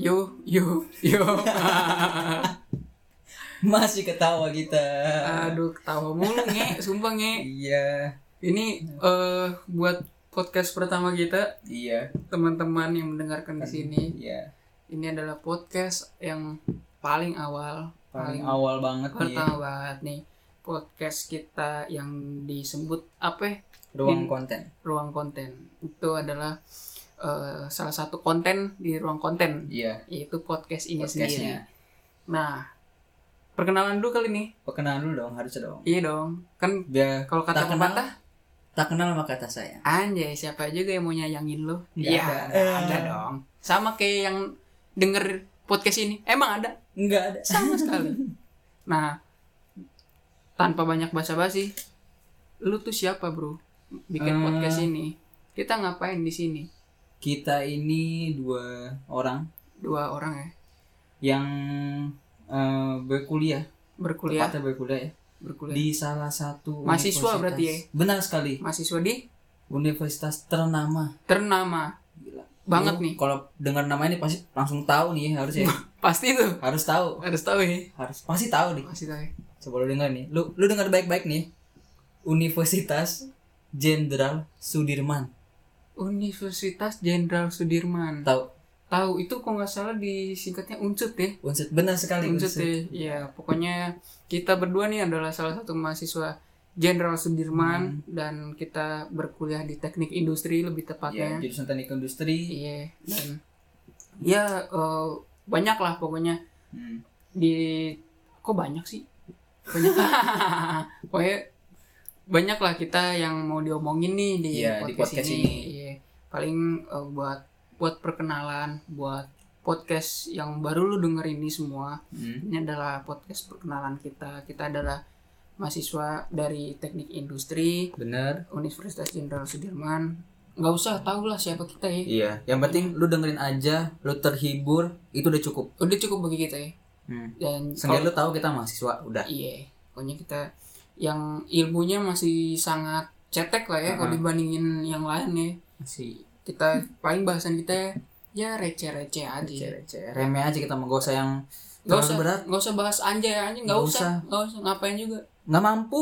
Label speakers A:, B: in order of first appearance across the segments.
A: Yo, yo.
B: Masih ketawa kita.
A: Aduh, ketawa mulu nge, sumpah nge.
B: Iya,
A: Ini eh buat podcast pertama kita,
B: iya,
A: teman-teman yang mendengarkan di sini.
B: iya.
A: Ini adalah podcast yang paling awal,
B: Paling awal Iya. banget nih
A: pertama banget nih. Podcast kita yang disebut apa? ya? Di-
B: ruang konten.
A: Ruang konten. Itu adalah eh, salah satu konten di ruang konten,
B: Iya,
A: yaitu podcast ini sendiri.
B: podcastnya.
A: Nah, perkenalan dulu kali nih.
B: Perkenalan dulu dong, harus dong.
A: Iya dong. Kan
B: Biar
A: Kalau kata
B: Tak kenal.
A: pepatah,
B: tak kenal sama kata saya.
A: anjay siapa juga yang mau nyayangin lu?
B: Nggak
A: Iya,
B: ada.
A: nggak ada dong. Sama kayak yang denger podcast ini. Emang ada?
B: Enggak ada.
A: Sama sekali. Nah, tanpa banyak basa-basi, lu tuh siapa, Bro? Bikin
B: Eh.
A: podcast ini. Kita ngapain di sini?
B: Kita ini dua orang
A: Dua orang ya,
B: yang eh, berkuliah,
A: berkuliah,
B: tepatnya berkuliah ya,
A: berkuliah.
B: di salah satu
A: Iya. Mahasiswa berarti ya?
B: universitas- Benar sekali.
A: Mahasiswa di
B: Universitas ternama.
A: ternama.
B: Gila.
A: Banget
B: Lu
A: nih.
B: Kalau dengar nama ini pasti langsung tahu nih harusnya.
A: Pasti tuh.
B: harus tahu.
A: Harus tahu ya.
B: Harus pasti tahu nih.
A: Pasti tahu. ya.
B: Coba lu dengar nih. Lu lu dengar baik-baik nih. Universitas Jenderal Sudirman.
A: Universitas Jenderal Sudirman.
B: Tahu?
A: Tahu itu kok nggak salah disingkatnya uncut ya.
B: Unsur benar sekali
A: Uncut
B: Unsur.
A: ya. Iya, pokoknya kita berdua nih adalah salah satu mahasiswa Jenderal Sudirman dan kita berkuliah di Teknik Industri lebih
B: Ya,
A: tepatnya.
B: jurusan Teknik Industri.
A: Iya, dan ya eh, banyak lah pokoknya
B: Hmm.
A: di kok banyak sih? Banyak. pokoknya banyak lah kita yang mau diomongin nih di,
B: Iya,
A: podcast,
B: di podcast
A: ini.
B: ini.
A: Iya. Paling eh, buat buat perkenalan, buat podcast yang baru lu denger ini semua.
B: Hmm.
A: Ini adalah podcast perkenalan kita. Kita adalah mahasiswa dari Teknik Industri
B: Bener.
A: Universitas Jenderal Sudirman. Nggak usah tahu lah siapa kita ya.
B: Iya, yang penting lu dengerin aja, lu terhibur, itu udah cukup.
A: Udah cukup bagi kita ya.
B: Hmm.
A: Dan
B: Seenggaknya lu tahu kita mahasiswa, udah.
A: iya, pokoknya kita yang ilmunya masih sangat cetek lah ya kalau
B: Uh-huh.
A: dibandingin yang lain ya.
B: Si
A: Kita paling bahasan kita ya receh-receh aja.
B: receh-receh. Remeh aja kita mau gak usah yang
A: Nggak
B: terlalu
A: usah,
B: berat.
A: nggak usah bahas anjay anjing, nggak
B: Nggak
A: usah, nggak usah ngapain juga.
B: Nggak mampu.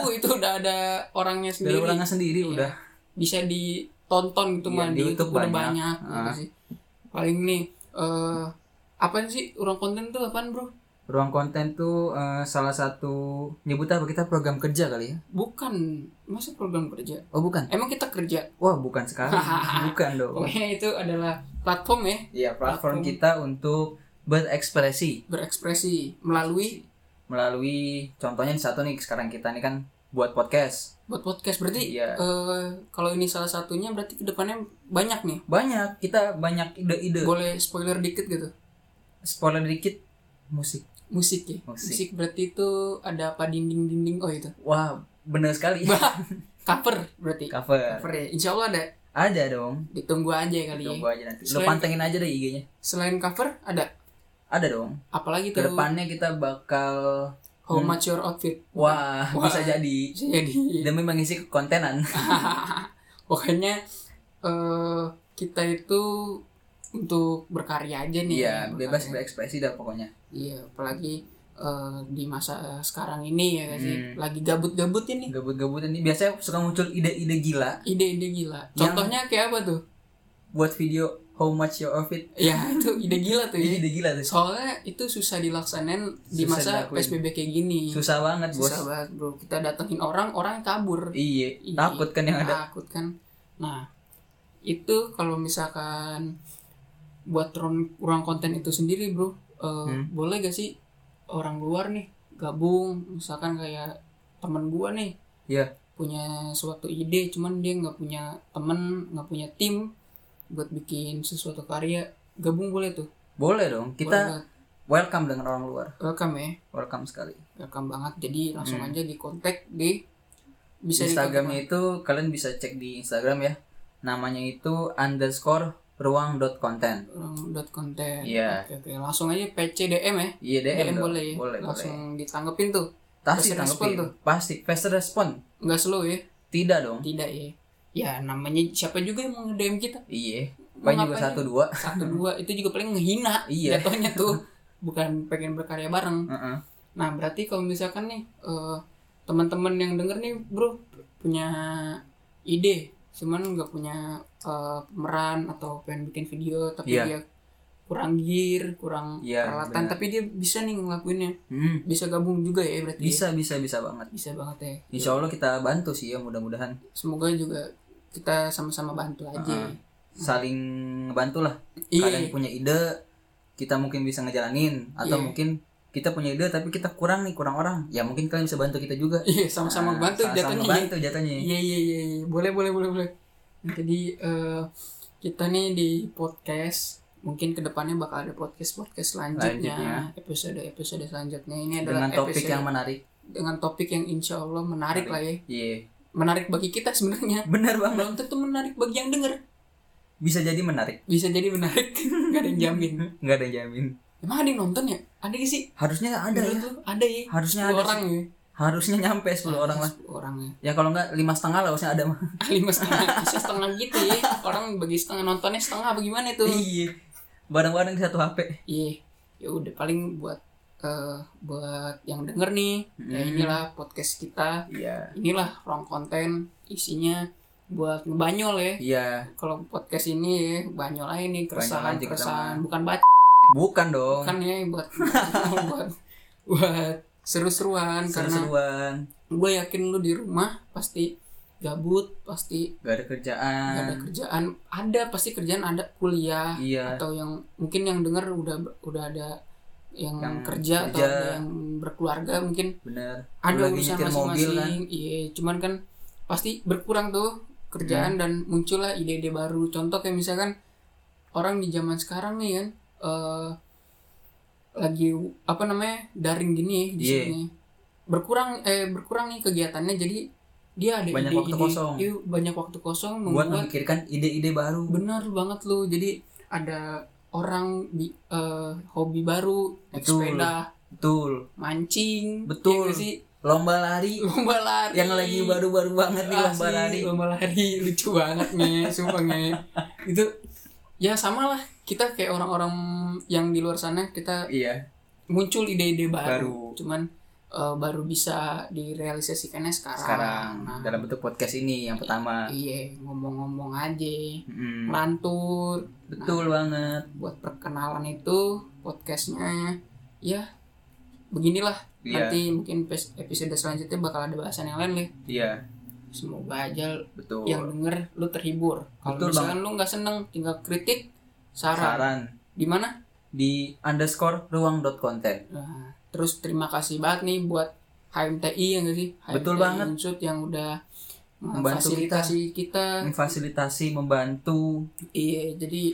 A: Uh, itu udah ada orangnya
B: Dari
A: sendiri.
B: orangnya sendiri
A: Iya.
B: udah.
A: bisa ditonton gitu
B: Iya,
A: mah
B: di
A: di
B: YouTube
A: YouTube udah
B: banyak.
A: banyak, gitu
B: Ah.
A: sih. Paling nih eh apaan sih ruang konten tuh apaan, Bro?
B: Ruang konten tuh eh, salah satu nyebutnya apa kita program kerja kali ya?
A: Bukan masa program kerja.
B: Oh bukan.
A: Emang kita kerja.
B: Wah bukan sekali. bukan dong.
A: Pokoknya itu adalah platform ya
B: Iya
A: Platform.
B: platform kita untuk berekspresi
A: berekspresi melalui
B: melalui contohnya satu nih sekarang kita nih kan buat podcast
A: buat podcast berarti
B: Iya.
A: eh, kalau ini salah satunya berarti kedepannya banyak nih
B: banyak kita banyak ide-ide
A: boleh spoiler dikit gitu
B: spoiler dikit musik
A: musik ya
B: Musik.
A: berarti itu ada apa dinding dinding oh itu
B: wah bener sekali
A: cover berarti
B: cover
A: cover ya insya Allah ada
B: ada dong
A: ditunggu aja kali ya
B: tunggu aja nanti lu
A: Selain-
B: pantengin aja deh IG-nya
A: Selain cover ada
B: ada dong
A: apalagi tuh
B: kedepannya kita bakal
A: how much your outfit.
B: Hmm. wah, bisa jadi
A: Bisa jadi.
B: demi mengisi kontenan
A: Pokoknya eh kita itu untuk berkarya aja nih.
B: iya
A: Berkarya.
B: bebas berekspresi dah pokoknya
A: Iya, apalagi eh, di masa sekarang ini ya gak sih.
B: Hmm.
A: Lagi gabut-gabut ini.
B: gabut-gabut ini biasanya suka muncul ide-ide gila
A: Ide-ide gila.
B: Yang-
A: Contohnya kayak apa tuh?
B: buat video how much your outfit
A: Ya, itu ide gila tuh ya.
B: ide gila tuh
A: Soalnya itu susah dilaksanain di
B: Susah
A: masa
B: dilakuin.
A: PSBB kayak gini.
B: susah banget bos
A: Iya. Susah banget, Bro. Kita datengin orang, orang kabur.
B: iya
A: Iya.
B: takut kan yang ada
A: takut kan nah itu kalau misalkan buat ruang, ruang konten itu sendiri bro eh,
B: Hmm.
A: boleh gak sih orang luar nih gabung misalkan kayak temen gua nih
B: Iya.
A: punya suatu ide cuman dia nggak punya temen nggak punya tim buat bikin sesuatu karya gabung boleh tuh
B: boleh dong kita
A: Boleh banget.
B: welcome dengan orang luar
A: welcome ya
B: welcome sekali
A: welcome banget jadi langsung
B: Hmm. ya?
A: aja di kontak di bisa di
B: Instagramnya itu kalian bisa cek di Instagram ya namanya itu underscore ruang dot content
A: dot konten
B: Iya.
A: oke, oke. langsung aja PCDM ya
B: iya DM,
A: DM
B: dong.
A: boleh ya?
B: boleh boleh
A: langsung ditanggepin tuh
B: pasti
A: Fast respon
B: tanggepin
A: tuh.
B: pasti fast respon
A: nggak slow ya
B: tidak dong
A: tidak ya ya namanya siapa juga yang mau DM kita
B: iya Paling
A: Mau
B: juga
A: ngapain?
B: satu dua.
A: satu dua itu juga paling ngehina
B: Iya.
A: jatuhnya tuh bukan pengen berkarya bareng
B: Heeh.
A: nah berarti kalau misalkan nih eh, teman-teman yang denger nih bro punya ide cuman nggak punya eh, pemeran atau pengen bikin video tapi
B: Iya.
A: dia kurang gear kurang
B: Iya,
A: peralatan
B: benar.
A: tapi dia bisa nih ngelakuinnya
B: Hmm.
A: bisa gabung juga ya berarti
B: Bisa bisa bisa banget.
A: bisa banget ya
B: Insya Allah kita bantu sih ya mudah-mudahan
A: semoga juga kita sama-sama bantu aja
B: Heeh. saling bantu lah.
A: Iya.
B: Kalian punya ide, kita mungkin bisa ngejalanin atau
A: Iya.
B: mungkin kita punya ide tapi kita kurang nih kurang orang. Ya mungkin kalian bisa bantu kita juga.
A: iya sama-sama
B: Nah,
A: bantu
B: sama-sama
A: jatuhnya ya.
B: bantu jatuhnya.
A: Iya iya iya iya. boleh boleh boleh boleh. Jadi eh, kita nih di podcast mungkin kedepannya bakal ada podcast podcast selanjutnya episode episode selanjutnya ini adalah
B: Dengan topik
A: episode
B: yang menarik.
A: dengan topik yang insya Allah menarik lah ya
B: Iya.
A: menarik bagi kita sebenarnya
B: Benar banget.
A: belum tentu menarik bagi yang denger
B: Bisa jadi menarik.
A: bisa jadi menarik gak ada yang jamin
B: Nggak ada yang jamin.
A: emang ada yang nonton ya ada gak sih
B: Harusnya ada
A: Menurut
B: ya.
A: lu? ada ya
B: Harusnya
A: Sepuluh
B: ada.
A: orang
B: sih.
A: ya
B: Harusnya nyampe 10 orang lah.
A: 10 orang ya
B: Ya kalau nggak lima setengah lah harusnya ada mah.
A: Ah, lima setengah bisa setengah gitu ya orang bagi setengah nontonnya setengah apa gimana tuh
B: Iya. Bareng-bareng di satu HP.
A: Iya, ya udah paling buat eh, buat yang denger nih, ya
B: Hmm.
A: inilah podcast kita,
B: Iya.
A: inilah ruang konten, isinya buat ngebanyol ya.
B: Iya.
A: Kalau podcast ini ya banyol aja nih keresahan
B: aja kita
A: keresahan, bukan baca
B: Bukan dong.
A: kan ya buat buat buat seru-seruan karena
B: Seru-seruan.
A: gue yakin lu di rumah pasti gabut pasti
B: Gak ada kerjaan.
A: gak ada kerjaan ada pasti kerjaan ada kuliah
B: Iya.
A: atau yang mungkin yang dengar udah udah ada yang,
B: Yang
A: kerja, atau
B: kerja.
A: ada yang berkeluarga mungkin
B: Bener.
A: ada
B: Lagi
A: urusan
B: nyetir mobil kan.
A: masing-masing iya cuman kan pasti berkurang tuh
B: Iya.
A: kerjaan dan muncullah ide-ide baru contoh kayak misalkan orang di zaman sekarang nih kan eh, lagi apa namanya daring gini ya di
B: Iya.
A: sini berkurang eh berkurang nih kegiatannya jadi dia ada
B: Banyak
A: ide-ide-
B: waktu kosong.
A: iya, banyak waktu kosong
B: Buat
A: membuat
B: memikirkan ide-ide baru.
A: Benar banget lu. Jadi ada orang bi- eh, hobi baru, naik
B: Betul.
A: sepeda,
B: Betul.
A: mancing, ya
B: Betul.
A: nggak sih
B: Lomba lari.
A: lomba lari.
B: Yang lagi baru-baru banget nih lomba
A: Asli,
B: lari.
A: Lomba lari lucu banget nih, sumpah nih. Itu ya sama lah kita kayak orang-orang yang di luar sana kita
B: Iya.
A: muncul ide-ide baru.
B: Baru.
A: Cuman eh, baru bisa direalisasikannya sekarang.
B: Sekarang
A: Nah,
B: dalam bentuk podcast ini yang pertama.
A: iya, ngomong-ngomong aja,
B: Mm-mm.
A: ngelantur.
B: Betul banget.
A: buat perkenalan itu podcastnya ya beginilah
B: Iya.
A: nanti mungkin pes- episode selanjutnya bakal ada bahasan yang lain nih
B: Iya.
A: semoga aja
B: Betul.
A: yang denger lu terhibur kalau
B: Betul
A: misalkan lu nggak seneng tinggal kritik saran,
B: Saran
A: di mana
B: di underscore ruang.content.
A: Nah, terus terima kasih banget nih buat HMTI yang ya sih HMTI
B: Betul banget.
A: Unsur yang udah
B: Membantu
A: memfasilitasi kita,
B: Hmm. Memfasilitasi, membantu
A: iya jadi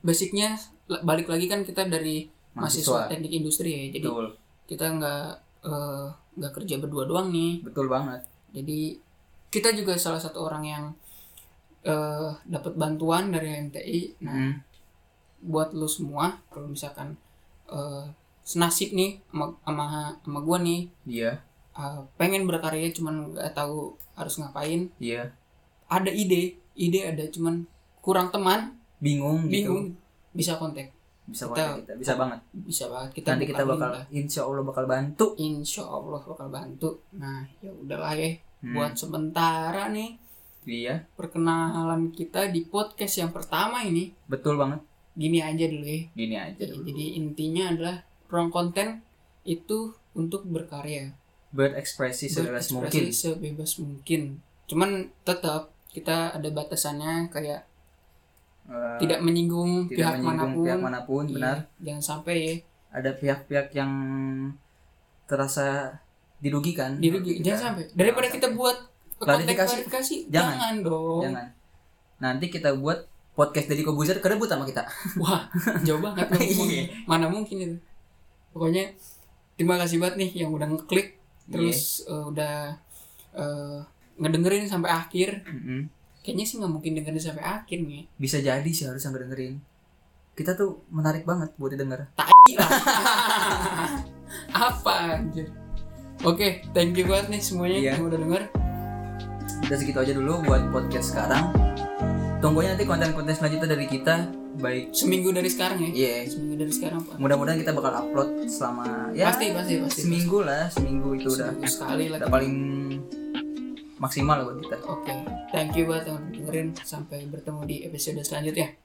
A: basicnya la- balik lagi kan kita dari mahasiswa,
B: mahasiswa.
A: teknik industri ya jadi
B: Betul.
A: kita nggak eh, nggak kerja berdua doang nih
B: Betul banget.
A: jadi kita juga salah satu orang yang eh dapat bantuan dari MTI nah
B: Mm.
A: buat lu semua kalau misalkan eh, senasib nih sama sama, sama gua nih
B: Iya.
A: eh, pengen berkarya cuman nggak tahu harus ngapain
B: Iya.
A: ada ide ide ada cuman kurang teman
B: Bingung, gitu.
A: bingung bisa kontak
B: Bisa
A: Kita-
B: banget kita. Bisa banget.
A: bisa banget kita
B: Nanti
A: buka
B: kita
A: link
B: bakal
A: lah.
B: insya Allah bakal bantu.
A: insya Allah bakal bantu nah ya udahlah ya
B: Hmm.
A: buat sementara nih
B: Iya.
A: perkenalan kita di podcast yang pertama ini
B: Betul banget.
A: gini aja dulu ya
B: Gini aja
A: jadi,
B: dulu.
A: jadi intinya adalah ruang konten itu untuk berkarya
B: Berekspresi sebebas
A: Berekspresi
B: mungkin.
A: sebebas mungkin cuman tetap kita ada batasannya kayak
B: Eh,
A: tidak menyinggung
B: tidak
A: pihak
B: menyinggung
A: manapun,
B: pihak manapun.
A: Iya,
B: Benar.
A: jangan sampai ya
B: Ada pihak-pihak yang terasa dirugikan. Gitu kan.
A: dirugi
B: Kita-
A: jangan sampai daripada
B: jangan
A: kita buat konten
B: Klarifikasi.
A: klarifikasi jangan,
B: Jangan.
A: dong
B: Jangan. Nanti kita buat podcast dari Kobuzer kerebut sama kita.
A: Wah, jauh banget loh ngomongnya.
B: Iya.
A: Mana mungkin itu. Pokoknya terima kasih banget nih yang udah ngeklik terus
B: Iya.
A: eh, udah eh, ngedengerin sampai akhir.
B: Mm-mm.
A: Kayaknya sih nggak mungkin dengerin sampai akhir nih.
B: Bisa jadi sih harus yang dengerin. Kita tuh menarik banget buat didengar.
A: Tai lah. Apa anjir. Oke, thank you banget nih semuanya
B: Iya.
A: yang udah denger.
B: Udah segitu aja dulu buat podcast sekarang. Tungguin nanti konten-konten selanjutnya dari kita baik.
A: Seminggu dari sekarang ya.
B: Iya.
A: Seminggu dari sekarang Pak.
B: Mudah-mudahan kita bakal upload selama ya
A: Pasti pasti pasti.
B: seminggu lah, seminggu itu udah
A: Seminggu sekali lagi.
B: udah paling maksimal lah buat kita.
A: Oke. Thank you buat yang dengerin sampai bertemu di episode selanjutnya.